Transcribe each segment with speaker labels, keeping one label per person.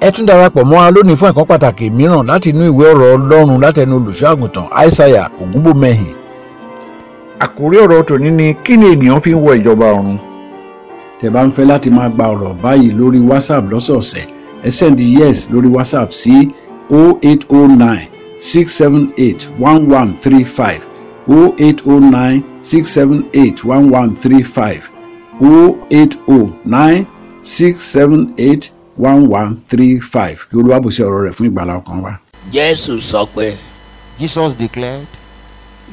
Speaker 1: ẹ tún darapọ̀ mọ́ wa lónìí fún ẹ̀kọ́ pàtàkì mìíràn láti inú ìwé ọ̀rọ̀ ọlọ́run látẹnu olùṣọ́àgùntàn aishaiya ògúnbòmẹ́hìn.
Speaker 2: àkórí ọ̀rọ̀ tòní ni kí ni ènìyàn fi ń wọ ìjọba ọ̀run
Speaker 1: tẹ́ bá ń fẹ́ láti máa gba ọ̀rọ̀ báyìí lórí whatsapp lọ́sọ̀ọ̀sẹ̀ ẹ send yes lórí whatsapp sí 0809 678 1135 0809 678 1135 0809 678 1135 kí olúwa bùsí ọ̀rọ̀ rẹ̀ fún ìgbàlá ọkàn wa.
Speaker 3: jésù sọ pé
Speaker 4: Jesus declared,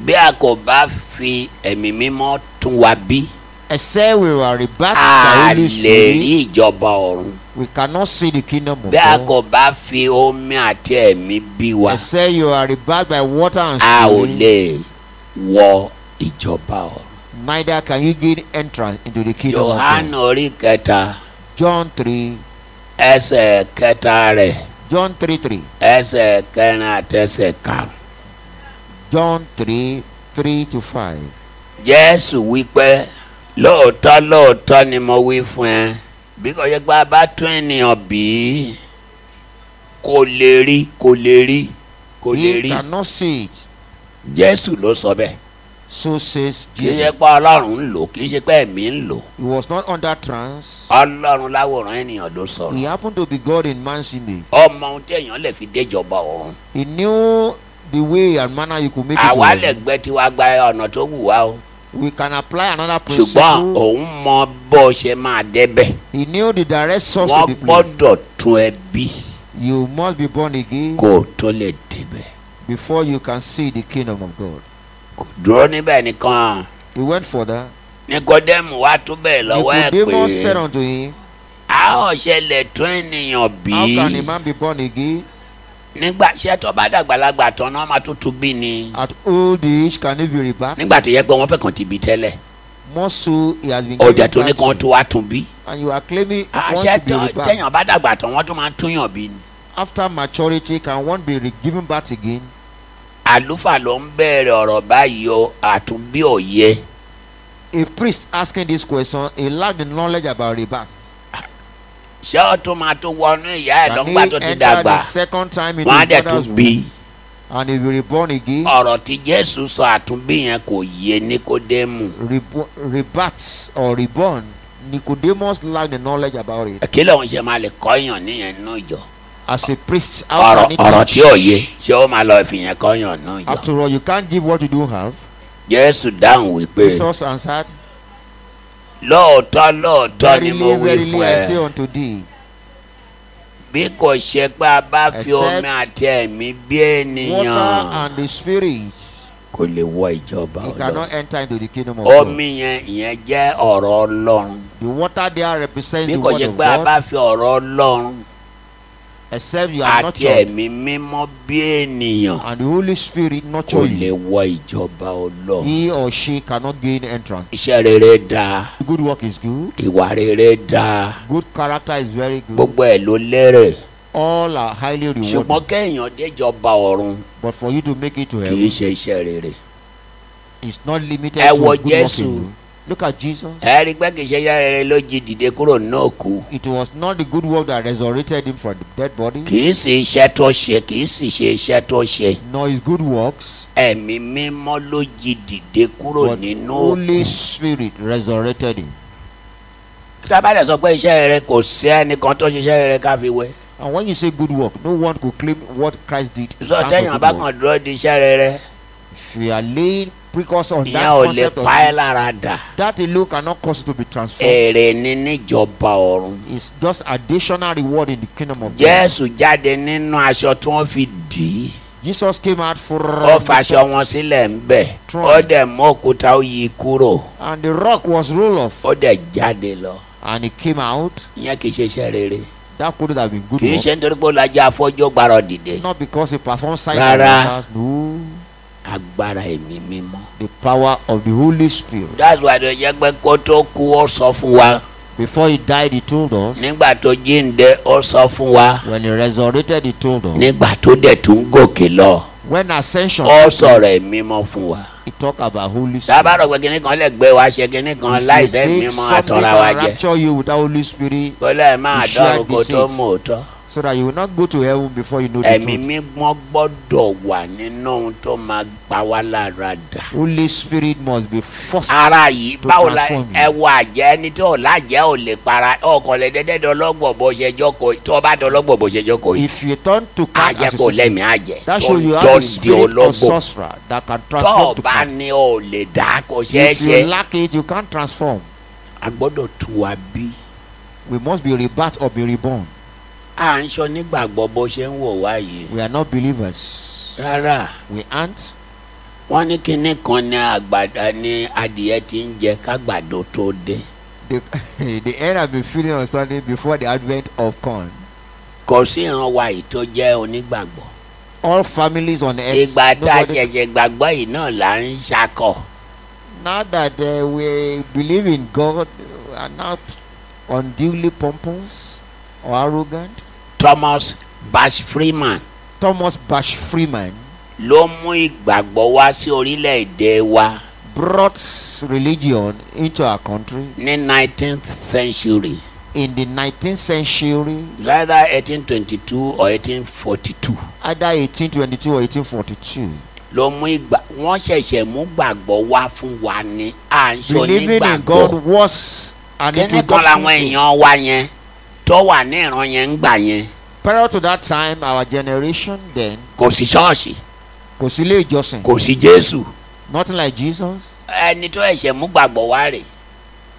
Speaker 3: bí a kò bá fi ẹ̀mí mímọ́ tún wa bí
Speaker 4: Except we are rebuked by
Speaker 3: a
Speaker 4: Holy
Speaker 3: lè rí
Speaker 4: Spirit,
Speaker 3: ìjọba ọ̀run
Speaker 4: we cannot see the kingdom of
Speaker 3: bí a
Speaker 4: God.
Speaker 3: kò bá fi omi àti ẹ̀mí bí wa
Speaker 4: Except you are rebuked by water and
Speaker 3: a ò
Speaker 4: spirit,
Speaker 3: lè wọ ìjọba ọ̀run.
Speaker 4: neither can you gain entrance into the kingdom of
Speaker 3: yohana
Speaker 4: God.
Speaker 3: orí kẹta
Speaker 4: John 3,
Speaker 3: ẹsẹ̀ kẹta rẹ̀
Speaker 4: John 3, 3,
Speaker 3: ẹsẹ̀ kẹrin àtẹsẹ̀ karùn.
Speaker 4: John 3, 3 to 5.
Speaker 3: jésù wípé lóòótọ́ lóòótọ́ ni mo wí fún ẹ bí kò yẹ pé a bá tún ènìyàn bí kò lè rí kò lè rí kò lè
Speaker 4: He
Speaker 3: rí
Speaker 4: cannot see it.
Speaker 3: jésù ló sọ bẹ́ẹ̀
Speaker 4: So says
Speaker 3: kì í ṣe
Speaker 4: Jesus.
Speaker 3: pé ọlọ́run ń lò kì í ṣe pé ẹ̀mí ń lò
Speaker 4: He was not under trance.
Speaker 3: ọlọ́run láwòrán ènìyàn ló sọ̀rọ̀
Speaker 4: He happened to be God in man's image.
Speaker 3: ọmọ ohun tí èèyàn lè fi déjọba ọ̀run
Speaker 4: He knew the way and manner you could make it. to
Speaker 3: àwa lè
Speaker 4: heaven.
Speaker 3: gbẹ́ tiwa gba ọ̀nà tó wù wá o
Speaker 4: We can apply
Speaker 3: ṣùgbọ́n
Speaker 4: another principle.
Speaker 3: òun mọ bó ṣe máa débẹ̀
Speaker 4: He knew the direct source
Speaker 3: wọ́n
Speaker 4: of the place.
Speaker 3: gbọ́dọ̀ tún ẹbí
Speaker 4: You must be born again
Speaker 3: kó o tó lè débẹ̀
Speaker 4: before you can see the kingdom of God.
Speaker 3: kò dúró níbẹ̀ nìkan
Speaker 4: He went further.
Speaker 3: nikodemu wa tún bẹ̀ lọ́wọ́ ẹ̀
Speaker 4: Nicodemus said
Speaker 3: pé
Speaker 4: unto him,
Speaker 3: a ò ṣe lè tún ènìyàn bí
Speaker 4: How can a man be born again?
Speaker 3: nígbà ṣé tó bá dàgbàlagbà tán náà máa tún tún bí ni
Speaker 4: At old age, can he be rebirth?
Speaker 3: nígbà tó yẹ pé wọ́n fẹ́ kàn ti bí tẹ́lẹ̀
Speaker 4: More so, he has been
Speaker 3: ọjà
Speaker 4: given
Speaker 3: tó ní kan
Speaker 4: birth
Speaker 3: tó wá tún bí
Speaker 4: to, And you are claiming one
Speaker 3: àṣẹ
Speaker 4: should be rebirth.
Speaker 3: tẹ̀yàn bá dàgbà tán wọ́n tún máa ń túyàn bí ni.
Speaker 4: After maturity, can one be re- given birth again?
Speaker 3: àlùfáà ló ń bẹ̀rẹ̀ ọ̀rọ̀ báyìí o àtúnbí òye
Speaker 4: A priest asking this question, he lacked the knowledge about rebirth.
Speaker 3: ṣé ó tún máa tó wọnú ìyá ẹ̀
Speaker 4: Can he
Speaker 3: lọ́gbà tó
Speaker 4: enter
Speaker 3: ti dàgbà
Speaker 4: the second time into
Speaker 3: wọ́n á
Speaker 4: his
Speaker 3: dẹ̀ tún
Speaker 4: mother's
Speaker 3: bí
Speaker 4: womb and he will be reborn again?
Speaker 3: ọ̀rọ̀ tí jésù sọ àtúnbí yẹn kò yé níkódémù
Speaker 4: Rebo- rebirth or reborn, Nicodemus lacked the knowledge about it.
Speaker 3: kí lóun ṣe máa lè kọ́yàn níyẹn nínú ìjọ
Speaker 4: As a priest, how
Speaker 3: ọ̀rọ̀
Speaker 4: can it
Speaker 3: ọ̀rọ̀
Speaker 4: teach?
Speaker 3: tí ò yé ṣé ó máa lọ fi yẹn kọ́yàn nínú ìjọ
Speaker 4: After all, you can't give what you don't have.
Speaker 3: jésù dáhùn wípé
Speaker 4: Jesus answered,
Speaker 3: lóòótọ́ lóòótọ́ ni mo wí
Speaker 4: Verily, verily,
Speaker 3: fún
Speaker 4: I say
Speaker 3: ẹ
Speaker 4: unto thee,
Speaker 3: bí kò ṣe pé a bá fi
Speaker 4: Except
Speaker 3: omi àti ẹ̀mí bí
Speaker 4: water
Speaker 3: ènìyàn
Speaker 4: and the spirit,
Speaker 3: kò lè wọ ìjọba
Speaker 4: you
Speaker 3: ọlọ́run.
Speaker 4: cannot enter into the kingdom of God.
Speaker 3: omi yẹn ìyẹn jẹ́ ọ̀rọ̀ ọlọ́run
Speaker 4: The water there represents
Speaker 3: bí
Speaker 4: the
Speaker 3: kò
Speaker 4: word
Speaker 3: ṣe
Speaker 4: of
Speaker 3: pé a bá
Speaker 4: God,
Speaker 3: fi ọ̀rọ̀ ọlọ́run
Speaker 4: except you
Speaker 3: àti
Speaker 4: are nurtured,
Speaker 3: ẹ̀mí mímọ́ bí ènìyàn
Speaker 4: and the Holy Spirit
Speaker 3: kò
Speaker 4: nurture
Speaker 3: lè
Speaker 4: you.
Speaker 3: wọ ìjọba ọlọ́run.
Speaker 4: He or she cannot gain entrance.
Speaker 3: iṣẹ́ rere dáa
Speaker 4: Good work is good.
Speaker 3: ìwà rere dáa
Speaker 4: Good character is very good.
Speaker 3: gbogbo ẹ̀ ló lérè
Speaker 4: All are highly rewarded.
Speaker 3: ṣùgbọ́n kéèyàn déjọba ọ̀run
Speaker 4: But for you to make it to
Speaker 3: kì í
Speaker 4: heaven,
Speaker 3: ṣe iṣẹ́ rere.
Speaker 4: it's not limited
Speaker 3: Ẹ
Speaker 4: to
Speaker 3: wo
Speaker 4: good work
Speaker 3: Jésù.
Speaker 4: alone. Look at Jesus.
Speaker 3: ẹ rí i pé kì í ṣe iṣẹ́ rere ló jí dìde kúrò náà kú
Speaker 4: It was not the good work that resurrected him from the dead body.
Speaker 3: kì í sì iṣẹ́ tó ṣe kì í sì ṣe iṣẹ́ tó ṣe
Speaker 4: nor his good works,
Speaker 3: ẹ̀mí mímọ́ ló jí dìde kúrò
Speaker 4: but
Speaker 3: nínú òkú.
Speaker 4: Holy Spirit resurrected him.
Speaker 3: tábàdà sọ pé iṣẹ́ rere kò sí ẹnìkan tó ṣiṣẹ́ rere ká fi wé
Speaker 4: And when you say good work, no one could claim what Christ did. as
Speaker 3: sọ
Speaker 4: a
Speaker 3: tẹ́yìn
Speaker 4: good
Speaker 3: bá
Speaker 4: work.
Speaker 3: kàn dúró di iṣẹ́ rere
Speaker 4: If you are laying precursor on
Speaker 3: ìyẹn
Speaker 4: that
Speaker 3: ò lè
Speaker 4: concept of
Speaker 3: pa ẹ́ Eh.
Speaker 4: good,
Speaker 3: lára dà
Speaker 4: that alone cannot cause you to be transformed.
Speaker 3: èrè ni níjọba ọ̀run
Speaker 4: It's just additional reward in the kingdom of God.
Speaker 3: jésù jáde nínú aṣọ tí wọ́n fi dì í
Speaker 4: Jesus came out for
Speaker 3: ó faṣọ wọn sílẹ̀ ń bẹ̀ ó dẹ̀ mú òkúta ó yí i kúrò
Speaker 4: and the rock was rolled off,
Speaker 3: ó dẹ̀ jáde lọ
Speaker 4: and he came out.
Speaker 3: ìyẹn kì í ṣe iṣẹ́ rere
Speaker 4: That could have been good
Speaker 3: kì í
Speaker 4: work.
Speaker 3: ṣe nítorí pé ó lajú afọ́jọ́ gbàrọ̀ dìde
Speaker 4: Not because he performed signs and
Speaker 3: Rárá.
Speaker 4: wonders. No,
Speaker 3: agbára ẹ̀mí mímọ́
Speaker 4: the power of the Holy Spirit.
Speaker 3: that's why ló jẹ́ pé kó tó kú ó sọ fún wa
Speaker 4: Before he died, he told us.
Speaker 3: nígbà tó jíǹde ó sọ fún wa.
Speaker 4: When he resurrected, he told us.
Speaker 3: nígbà tó dẹ̀ tún gòkè lọ
Speaker 4: When ascension,
Speaker 3: ó sọ̀rọ̀ ẹ̀ mímọ́ fún wa.
Speaker 4: he talked about Holy Spirit.
Speaker 3: dábàárọ̀ pé kinní kan lè gbé wa ṣe kinní kan
Speaker 4: If
Speaker 3: láìsẹ́
Speaker 4: you take
Speaker 3: mímọ́
Speaker 4: something
Speaker 3: àtọ́ra wa
Speaker 4: and
Speaker 3: jẹ.
Speaker 4: rapture you without Holy Spirit,
Speaker 3: kó lẹ́ẹ̀ máa
Speaker 4: You shall
Speaker 3: dọ́rùn
Speaker 4: be
Speaker 3: kó tó
Speaker 4: saved.
Speaker 3: mú òótọ́.
Speaker 4: so that you will not go to heaven before you know the
Speaker 3: ẹ̀mí
Speaker 4: truth.
Speaker 3: mímọ́ gbọ́dọ̀ wà nínú ohun tó máa pa wá lára dà.
Speaker 4: Holy Spirit must be forced.
Speaker 3: ara yìí
Speaker 4: to
Speaker 3: báwo la
Speaker 4: transform you.
Speaker 3: ẹ wo àjẹ́ ẹni tó ò lájẹ́ ò lè para ọkàn lè dédé dọlọ́gbọ̀ bó ṣe jókòó tó o bá dọlọ́gbọ̀ bó ṣe jókòó yìí
Speaker 4: If you turn to cat
Speaker 3: àjẹ́
Speaker 4: as
Speaker 3: kò
Speaker 4: you see,
Speaker 3: lẹ́mìí àjẹ́ tó
Speaker 4: that shows you
Speaker 3: tó
Speaker 4: have a
Speaker 3: di
Speaker 4: spirit of
Speaker 3: ológbò
Speaker 4: sorcerer that can
Speaker 3: tó o
Speaker 4: transform to
Speaker 3: bá
Speaker 4: cat.
Speaker 3: ní o lè dá kò ṣeé
Speaker 4: If
Speaker 3: ṣe
Speaker 4: you lack it, you can't transform.
Speaker 3: a gbọ́dọ̀ tu wa bí
Speaker 4: We must be rebirth or be reborn.
Speaker 3: à ń sọ nígbàgbọ́ bó ṣe ń wò wá yìí
Speaker 4: We are not believers.
Speaker 3: rárá
Speaker 4: We aren't.
Speaker 3: wọ́n ní kinní kan ní àgbàdo ní adìẹ ti ń jẹ kágbàdo tó dé
Speaker 4: The, the end I've been feeling on Sunday before the advent of corn.
Speaker 3: kò sí ìran wa yìí tó jẹ́ onígbàgbọ́
Speaker 4: All families on earth.
Speaker 3: ìgbà tá a
Speaker 4: nobody-
Speaker 3: ṣẹ̀ṣẹ̀ gbàgbọ́ yìí náà là ń ṣakọ̀.
Speaker 4: now that uh, we believe in God, we are not unduly pompous or arrogant.
Speaker 3: Thomas Bash Freeman
Speaker 4: Thomas Bash Freeman
Speaker 3: ló mú ìgbàgbọ́ wá sí orílẹ̀-èdè wa
Speaker 4: brought religion into our country
Speaker 3: ní 19th century
Speaker 4: in the 19th century,
Speaker 3: rather 1822 or 1842
Speaker 4: either 1822 or 1842.
Speaker 3: ló mú ìgbà wọ́n ṣẹ̀ṣẹ̀ mú gbàgbọ́ wá fún wa ní à ń sọ
Speaker 4: Believing in
Speaker 3: nígbàgbọ́
Speaker 4: God was an
Speaker 3: kíní kan
Speaker 4: introduction.
Speaker 3: làwọn
Speaker 4: to-
Speaker 3: èèyàn wa yẹn tó wà ní ìran yẹn ń gbà yẹn
Speaker 4: Prior to that time, our generation then,
Speaker 3: kò sí ṣọ́ọ̀ṣì
Speaker 4: kò sí ilé ìjọsìn,
Speaker 3: kò sí Jésù
Speaker 4: nothing like Jesus.
Speaker 3: ẹni tó ẹ̀ṣẹ̀ mú gbàgbọ́ wá rè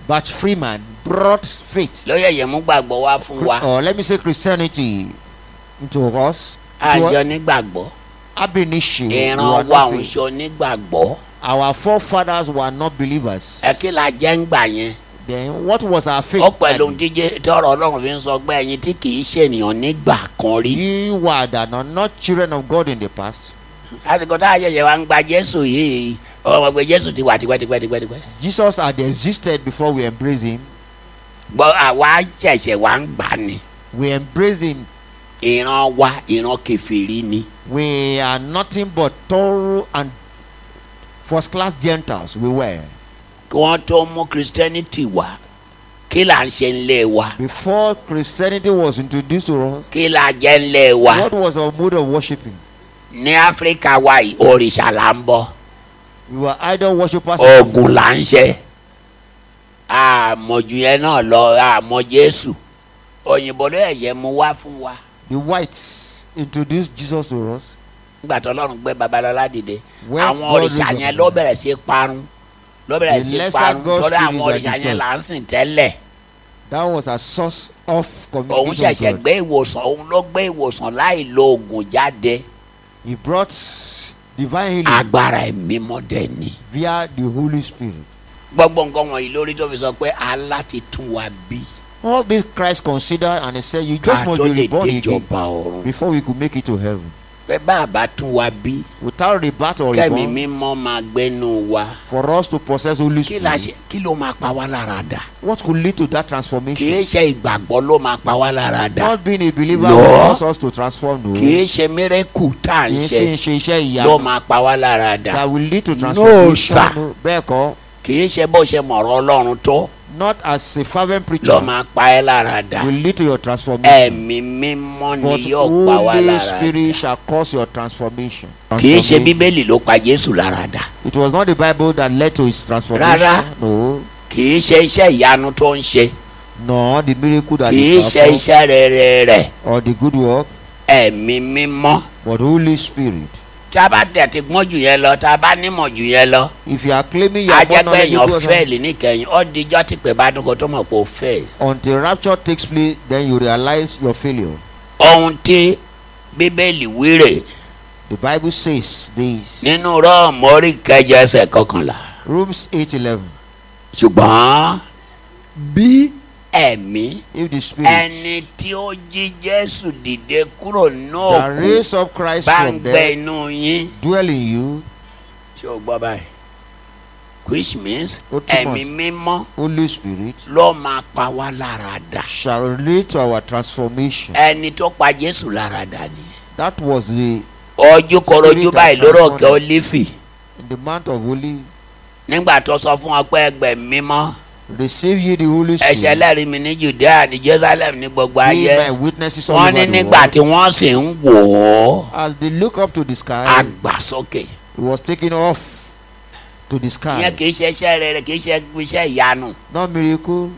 Speaker 4: But Freeman brought faith,
Speaker 3: ló yẹ̀yẹ̀ mú gbàgbọ́ wá fún wa
Speaker 4: or let me say Christianity, into us.
Speaker 3: à ń
Speaker 4: To
Speaker 3: sọ nígbàgbọ́
Speaker 4: ab initio, we
Speaker 3: ìran
Speaker 4: were
Speaker 3: wa
Speaker 4: not
Speaker 3: ń
Speaker 4: faith.
Speaker 3: sọ nígbàgbọ́.
Speaker 4: Our forefathers were not believers.
Speaker 3: ẹ kí la jẹ́ ń gbà yẹn
Speaker 4: Then what was our faith?
Speaker 3: ó pẹ̀lú
Speaker 4: then?
Speaker 3: díje tọrọ ọlọ́run fi ń sọ pé ẹ̀yin tí kì í ṣènìyàn nígbà kan rí.
Speaker 4: You were that are not children of God in the past.
Speaker 3: àsìkò tá a ṣẹ̀ṣẹ̀ wá ń gba jésù yìí ọmọ pé jésù ti wà tipẹ́tipẹ́tipẹ́.
Speaker 4: Jesus had existed before we embraced him.
Speaker 3: gbọ́ àwa ṣẹ̀ṣẹ̀ wá ń gbà ni
Speaker 4: We embrace him.
Speaker 3: ìran wa ìran kẹfìrí ni
Speaker 4: We are nothing but thorough and first class Gentiles. We were.
Speaker 3: kí wọ́n tó mú christianity wá kí là ń ṣe ńlẹ̀ wa
Speaker 4: Before Christianity was introduced to us,
Speaker 3: kí la jẹ́ ńlẹ̀ wa
Speaker 4: what was our mode of worshipping?
Speaker 3: ní áfíríkà wa yìí òrìṣà là ń bọ
Speaker 4: We were idol worshippers.
Speaker 3: oògùn là ń ṣe àmọ̀jù yẹn náà lọ àmọ̀ jésù òyìnbó ló ẹ̀jẹ̀ mu wá fún wa
Speaker 4: The whites introduced Jesus to us.
Speaker 3: nígbà tó lọ́run gbé babalọ́lá dìde
Speaker 4: When
Speaker 3: àwọn
Speaker 4: God
Speaker 3: òrìṣà
Speaker 4: raised
Speaker 3: yẹn
Speaker 4: up
Speaker 3: ló bẹ̀rẹ̀ sí parun ló bẹ̀rẹ̀
Speaker 4: The
Speaker 3: sí
Speaker 4: lesser
Speaker 3: parun
Speaker 4: God's
Speaker 3: torí àwọn
Speaker 4: spirits
Speaker 3: òrìṣà
Speaker 4: are
Speaker 3: yẹn
Speaker 4: destroyed.
Speaker 3: là ń sìn tẹ́lẹ̀
Speaker 4: That was a source of
Speaker 3: òun
Speaker 4: communication. with
Speaker 3: ṣẹ̀ṣẹ̀
Speaker 4: God.
Speaker 3: gbé ìwòsàn òun ló gbé ìwòsàn láì lo oògùn jáde
Speaker 4: He brought divine healing
Speaker 3: agbára ẹ̀mí mọ́dẹ̀ ni
Speaker 4: via the Holy Spirit.
Speaker 3: gbogbo nǹkan wọ̀nyí lórí tó fi sọ pé Allah ti tún wa bí
Speaker 4: All this Christ considered and he said, You
Speaker 3: ká
Speaker 4: just must
Speaker 3: tó
Speaker 4: be
Speaker 3: lè
Speaker 4: reborn again
Speaker 3: déjọba ọ̀run
Speaker 4: before we could make it to heaven.
Speaker 3: pé bàbá tún wa bí
Speaker 4: Without rebirth or
Speaker 3: kẹ́mi
Speaker 4: reborn,
Speaker 3: mímọ́ máa gbénu wa
Speaker 4: for us to possess Holy
Speaker 3: kí la
Speaker 4: Spirit,
Speaker 3: ṣe kí ló máa pa wá lára dà
Speaker 4: what could lead to that
Speaker 3: kì
Speaker 4: transformation?
Speaker 3: í ṣe ìgbàgbọ́ ló máa pa wá lára dà.
Speaker 4: Not being a believer
Speaker 3: No.
Speaker 4: will cause us to transform, no.
Speaker 3: kì í ṣe mírẹ́kù tá à ń
Speaker 4: Kì í
Speaker 3: ṣe
Speaker 4: sì ń ṣe iṣẹ́
Speaker 3: ló
Speaker 4: ìyanu
Speaker 3: máa pa wá lára dà
Speaker 4: that will lead to
Speaker 3: No,
Speaker 4: transformation.
Speaker 3: sir.
Speaker 4: no. Bẹ́ẹ̀ kọ́,
Speaker 3: kì í ṣe bó ṣe mọ̀rọ̀ ọlọ́run tó
Speaker 4: not as a fervent preacher
Speaker 3: ló máa pa ẹ́ lára dà
Speaker 4: will lead to your transformation.
Speaker 3: ẹ̀mí mímọ́ ni
Speaker 4: But
Speaker 3: yóò pa wá
Speaker 4: Holy
Speaker 3: lára dà
Speaker 4: Spirit shall cause your transformation.
Speaker 3: kì í ṣe bíbélì ló pa jésù lára dà
Speaker 4: It was not the Bible that led to his transformation.
Speaker 3: Rárá.
Speaker 4: No.
Speaker 3: kì í ṣe iṣẹ́ ìyanu tó ń ṣe
Speaker 4: No, the miracle that
Speaker 3: kì
Speaker 4: he
Speaker 3: í ṣe
Speaker 4: performed
Speaker 3: iṣẹ́ rere rẹ̀
Speaker 4: or the good work,
Speaker 3: ẹ̀mí mímọ́
Speaker 4: but Holy Spirit.
Speaker 3: tá a bá tẹ̀ ti gbọ́n jù yẹn lọ tá a bá nímọ̀ jù yẹn lọ
Speaker 4: If you are claiming you are born
Speaker 3: ajẹ́gbẹ̀yàn
Speaker 4: knowledgeable
Speaker 3: fẹ́ẹ̀lì níkẹyìn ó dijọ́ tìpẹ́ bá dúkọ tó mọ̀ pé ó fẹ́ẹ̀lì.
Speaker 4: until rapture takes place, then you realize your failure.
Speaker 3: ohun tí bíbélì wíre
Speaker 4: The Bible says this.
Speaker 3: nínú rọ́ọ̀mù orí kẹjọ ẹsẹ̀ kọkànlá
Speaker 4: Romans eight eleven.
Speaker 3: ṣùgbọ́n bí ẹ̀mí
Speaker 4: If the Spirit
Speaker 3: ẹni tí ó jí jésù dìde kúrò
Speaker 4: that
Speaker 3: nóòkú
Speaker 4: raised up Christ
Speaker 3: bá ń
Speaker 4: from
Speaker 3: gbé
Speaker 4: death
Speaker 3: inú yín
Speaker 4: dwell in you,
Speaker 3: ṣé o gbọ́ báyìí which means
Speaker 4: Ó túmọ̀
Speaker 3: ẹ̀mí
Speaker 4: sí-
Speaker 3: mímọ́
Speaker 4: Holy Spirit
Speaker 3: ló máa pa wá lára dà
Speaker 4: shall lead to our transformation.
Speaker 3: ẹni tó pa jésù lára dà ni
Speaker 4: That was the
Speaker 3: ojú korojú
Speaker 4: Spirit
Speaker 3: báyìí
Speaker 4: and
Speaker 3: lórí
Speaker 4: transformed.
Speaker 3: òkè olífì
Speaker 4: in the month of Holy.
Speaker 3: nígbà tó sọ fún ọ pé ẹgbẹ̀mí mímọ́
Speaker 4: receive ye the holy spirit
Speaker 3: ẹsẹ̀ ẹlẹ́rìí mi ní judea ní jerusalem ní gbogbo
Speaker 4: be my
Speaker 3: ayé
Speaker 4: witnesses all
Speaker 3: wọ́n ní
Speaker 4: over the
Speaker 3: nígbà
Speaker 4: world
Speaker 3: tí wọ́n sì ń wò ó
Speaker 4: as they look up to the sky
Speaker 3: àgbàsókè
Speaker 4: he was taken off to the sky
Speaker 3: ìyẹn kì í ṣe iṣẹ́ rere kì í ṣe iṣẹ́ ìyanu
Speaker 4: no miracle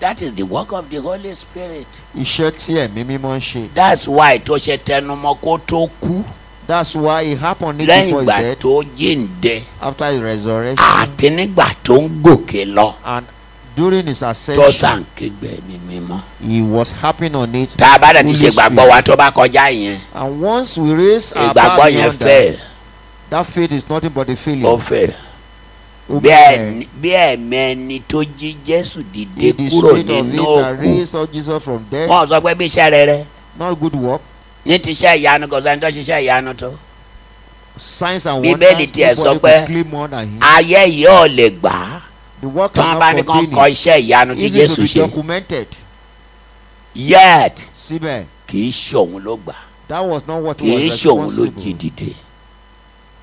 Speaker 3: that is the work of the holy spirit
Speaker 4: iṣẹ́ tí ẹ̀mí mímọ́ ń ṣe
Speaker 3: that's why tó ṣe tẹnumọ́ kó tó kú
Speaker 4: that's why it happened even
Speaker 3: lẹ́yìn
Speaker 4: before his
Speaker 3: ìgbà
Speaker 4: death
Speaker 3: tó Ah. jíǹde
Speaker 4: after his resurrection
Speaker 3: àti nígbà tó ń gòkè lọ
Speaker 4: and during his
Speaker 3: tó
Speaker 4: ascension
Speaker 3: sàn kígbe mi mímọ́.
Speaker 4: he was happy on it
Speaker 3: tá a bá dẹ̀ ti
Speaker 4: Holy
Speaker 3: ṣe gbàgbọ́
Speaker 4: Spirit. Ah,
Speaker 3: wa tó bá kọjá yẹn
Speaker 4: and once we raise our
Speaker 3: ìgbàgbọ́
Speaker 4: bar
Speaker 3: yẹn
Speaker 4: beyond
Speaker 3: fẹ́
Speaker 4: that that faith is nothing but a failure
Speaker 3: ó fẹ́
Speaker 4: Open air.
Speaker 3: bí ẹ̀mẹ́ni tó jí jésù dìde
Speaker 4: It is
Speaker 3: kúrò
Speaker 4: spirit of it
Speaker 3: nínú
Speaker 4: that
Speaker 3: òkú
Speaker 4: raised up Jesus from death,
Speaker 3: wọn ò sọ pé bí iṣẹ́ rere
Speaker 4: not good work,
Speaker 3: ní ti iṣẹ́ ìyanu kò sẹ́ni tó ṣiṣẹ́ ìyanu tó
Speaker 4: Hmm. signs and
Speaker 3: Bíbélì
Speaker 4: wonders.
Speaker 3: tiẹ̀ sọ
Speaker 4: Nobody
Speaker 3: pé-
Speaker 4: could claim more than him.
Speaker 3: ayé yìí ò lè gbà á
Speaker 4: The work
Speaker 3: tí wọ́n bá
Speaker 4: cannot
Speaker 3: ní kàn
Speaker 4: continue.
Speaker 3: kọ iṣẹ́ ìyanu tí
Speaker 4: If it
Speaker 3: jésù
Speaker 4: to be
Speaker 3: ṣe
Speaker 4: documented,
Speaker 3: yet
Speaker 4: síbẹ̀,
Speaker 3: kì í ṣòun ló gbà
Speaker 4: that was not what
Speaker 3: kì
Speaker 4: was
Speaker 3: í ṣòun ló jí
Speaker 4: responsible.
Speaker 3: dìde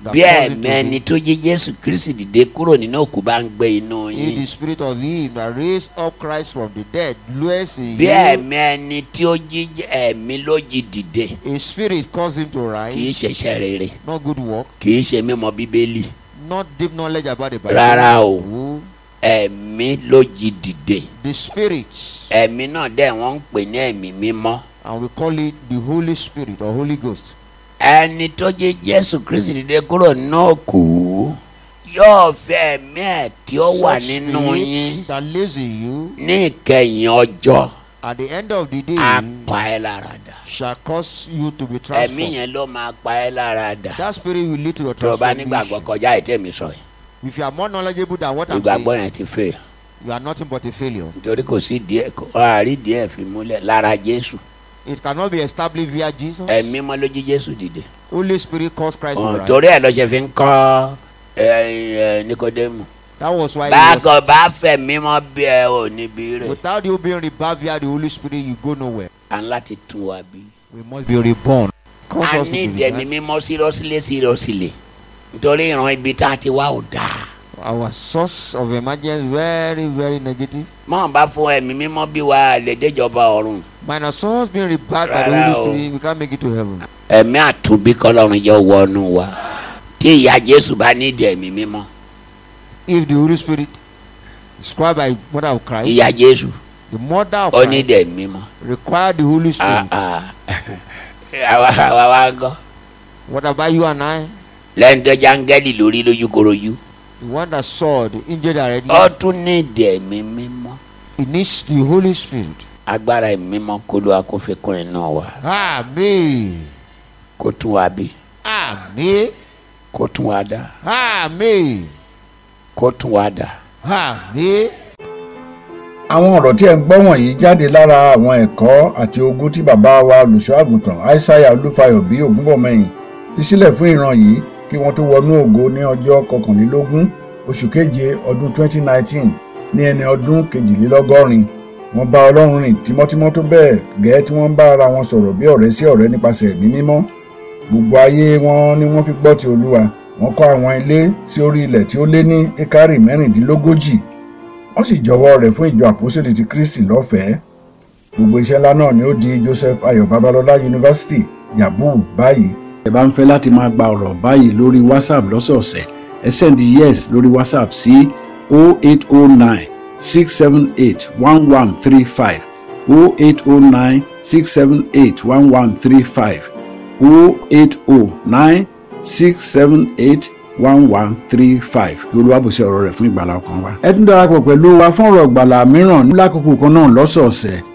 Speaker 4: that
Speaker 3: bí
Speaker 4: caused it to
Speaker 3: ẹ̀mẹ́ni
Speaker 4: be.
Speaker 3: tó jí jésù kristi dìde kúrò nínú òkú bá ń gbé inú
Speaker 4: If
Speaker 3: yín
Speaker 4: the spirit of him that raised up Christ from the dead dwells in
Speaker 3: bí
Speaker 4: you,
Speaker 3: ẹ̀mí ẹni tí ó jí ẹ̀mí ló jí dìde
Speaker 4: a spirit caused him to
Speaker 3: kì í
Speaker 4: rise,
Speaker 3: ṣẹṣẹ rere
Speaker 4: not good work,
Speaker 3: kì í ṣe mímọ̀ bíbélì
Speaker 4: not deep knowledge about the
Speaker 3: Rárá o.
Speaker 4: Bible. Who?
Speaker 3: ẹ̀mí ló jí dìde
Speaker 4: The spirit,
Speaker 3: ẹ̀mí náà dẹ̀ wọ́n ń pè ní ẹ̀mí mímọ́
Speaker 4: and we call it the Holy Spirit or Holy Ghost.
Speaker 3: ẹni tó jí jésù kristi dìde kúrò náà kù yóò fẹ́ ẹ̀mí ẹ̀ tí ó wà
Speaker 4: Such
Speaker 3: nínú
Speaker 4: spirits
Speaker 3: yín
Speaker 4: that lives in you
Speaker 3: ní ìkẹyìn ọjọ́
Speaker 4: at the end of the day
Speaker 3: á pa ẹ́ lára dà
Speaker 4: shall cause you to be
Speaker 3: ẹ̀mí
Speaker 4: transformed.
Speaker 3: yẹn ló máa pa ẹ́ lára dà
Speaker 4: That spirit will lead to your
Speaker 3: tó o bá nígbàgbọ́
Speaker 4: transformation.
Speaker 3: kọjá ìtẹ̀mí sọ yìí
Speaker 4: If you are more knowledgeable than what I'm
Speaker 3: ìgbàgbọ́
Speaker 4: saying,
Speaker 3: yẹn ti fẹ́ ẹ̀.
Speaker 4: you are nothing but a failure.
Speaker 3: nítorí kò sí díẹ̀ kò àárí díẹ̀ fi múlẹ̀ lára jésù
Speaker 4: It cannot be established via Jesus.
Speaker 3: ẹ̀mí mọ́ ló jí jésù dìde
Speaker 4: Holy Spirit caused Christ
Speaker 3: Ọ̀n,
Speaker 4: to rise.
Speaker 3: Oh, torí ẹ̀ ló ṣe fi ń kọ́ ẹ, ẹ, Nikodemu
Speaker 4: That was why he was,
Speaker 3: báàgọ̀ bá fẹ̀ mímọ́ bí ẹ ò níbi rẹ̀
Speaker 4: without you being rebirth via the Holy Spirit, you go nowhere.
Speaker 3: à ń láti tún wa bí.
Speaker 4: We must be reborn. Cause
Speaker 3: a
Speaker 4: us to
Speaker 3: ní
Speaker 4: be
Speaker 3: ìdẹ̀mí
Speaker 4: rebirth.
Speaker 3: mímọ́ sírọ́sílẹ̀ sírọ́sílẹ̀ nítorí ìran ibi tá a ti wá ò dáa
Speaker 4: Our source of emergence very, very negative.
Speaker 3: mọ́ bá fún ẹ̀mí mímọ́ bí wa lè déjọba ọ̀run
Speaker 4: Minus source being rebirthed by the
Speaker 3: Rárá
Speaker 4: Holy
Speaker 3: o.
Speaker 4: Spirit, we can't make it to heaven.
Speaker 3: ẹ̀mí àtúnbí kọ́lọ́run jọ wọnú wa tí ìyá jésù bá ní ìdẹ̀mí mímọ́
Speaker 4: if the Holy Spirit described by mother of Christ,
Speaker 3: ìyá jésù
Speaker 4: the mother of
Speaker 3: ó ní
Speaker 4: Christ
Speaker 3: ìdẹ̀mí mímọ́.
Speaker 4: required the Holy Spirit.
Speaker 3: Ah, ah. àwa àwa wa gọ
Speaker 4: What about you and I?
Speaker 3: lẹ́yìn tó jángẹ́lì lórí lójúkorojú.
Speaker 4: The one that saw the injured already,
Speaker 3: ó tún ní ìdí ẹ̀mí mímọ́
Speaker 4: he needs the Holy Spirit.
Speaker 3: agbára ẹ̀mí mímọ́ kó ló akófikún iná wa
Speaker 4: Amen.
Speaker 3: kó tún wa bí
Speaker 4: Amen.
Speaker 3: kó tún wa dá
Speaker 4: Amen.
Speaker 3: kó tún wa dá.
Speaker 4: Amen.
Speaker 2: àwọn ọ̀rọ̀ tí ẹ̀ ń gbọ́ wọ̀nyí jáde lára àwọn ẹ̀kọ́ àti ogún tí bàbá wa olùṣọ́ àgùntàn aishaiya olúfayọ bí ògúnbọ̀mọyìn fi sílẹ̀ fún ìran yìí kí wọ́n tó wọnú ògo ní ọjọ́ kọkànlélógún oṣù keje ọdún 2019 ní ẹni ọdún kejìlélọ́gọ́rin wọ́n bá ọlọ́run rìn tímọ́tímọ́ tó bẹ́ẹ̀ gẹ́ẹ́ tí wọ́n ń bá ara wọn sọ̀rọ̀ bí ọ̀rẹ́ sí ọ̀rẹ́ nípasẹ̀ ẹ̀mí mímọ́ gbogbo ayé wọn ni wọ́n fi gbọ́ ti olúwa wọ́n kọ́ àwọn ilé sí orí ilẹ̀ tí ó lé ní ekari mẹ́rìndínlógójì wọ́n sì jọ̀wọ́ rẹ̀ fún ìjọ àpòsílẹ̀ ti kristi lọ́fẹ̀ẹ́ gbogbo iṣẹ́ ńlá náà ni ó di joseph ayọ̀ babalọ́lá yunifásitì yabu báyìí
Speaker 1: ẹ bá ń fẹ́ láti máa gba ọ̀rọ̀ báyìí lórí whatsapp lọ́sọ̀ọ̀sẹ̀ ẹ send yes lórí whatsapp sí 0809 678 1135 0809 678 1135 0809 678 1135 kí olúwàbùsẹ̀ ọ̀rọ̀ rẹ̀ fún ìgbàlá ọkàn wa. ẹ tún darapọ̀ pẹ̀lú wa fún ọ̀rọ̀ ìgbàlá mìíràn ní lákòókò kan náà lọ́sọ̀ọ̀sẹ̀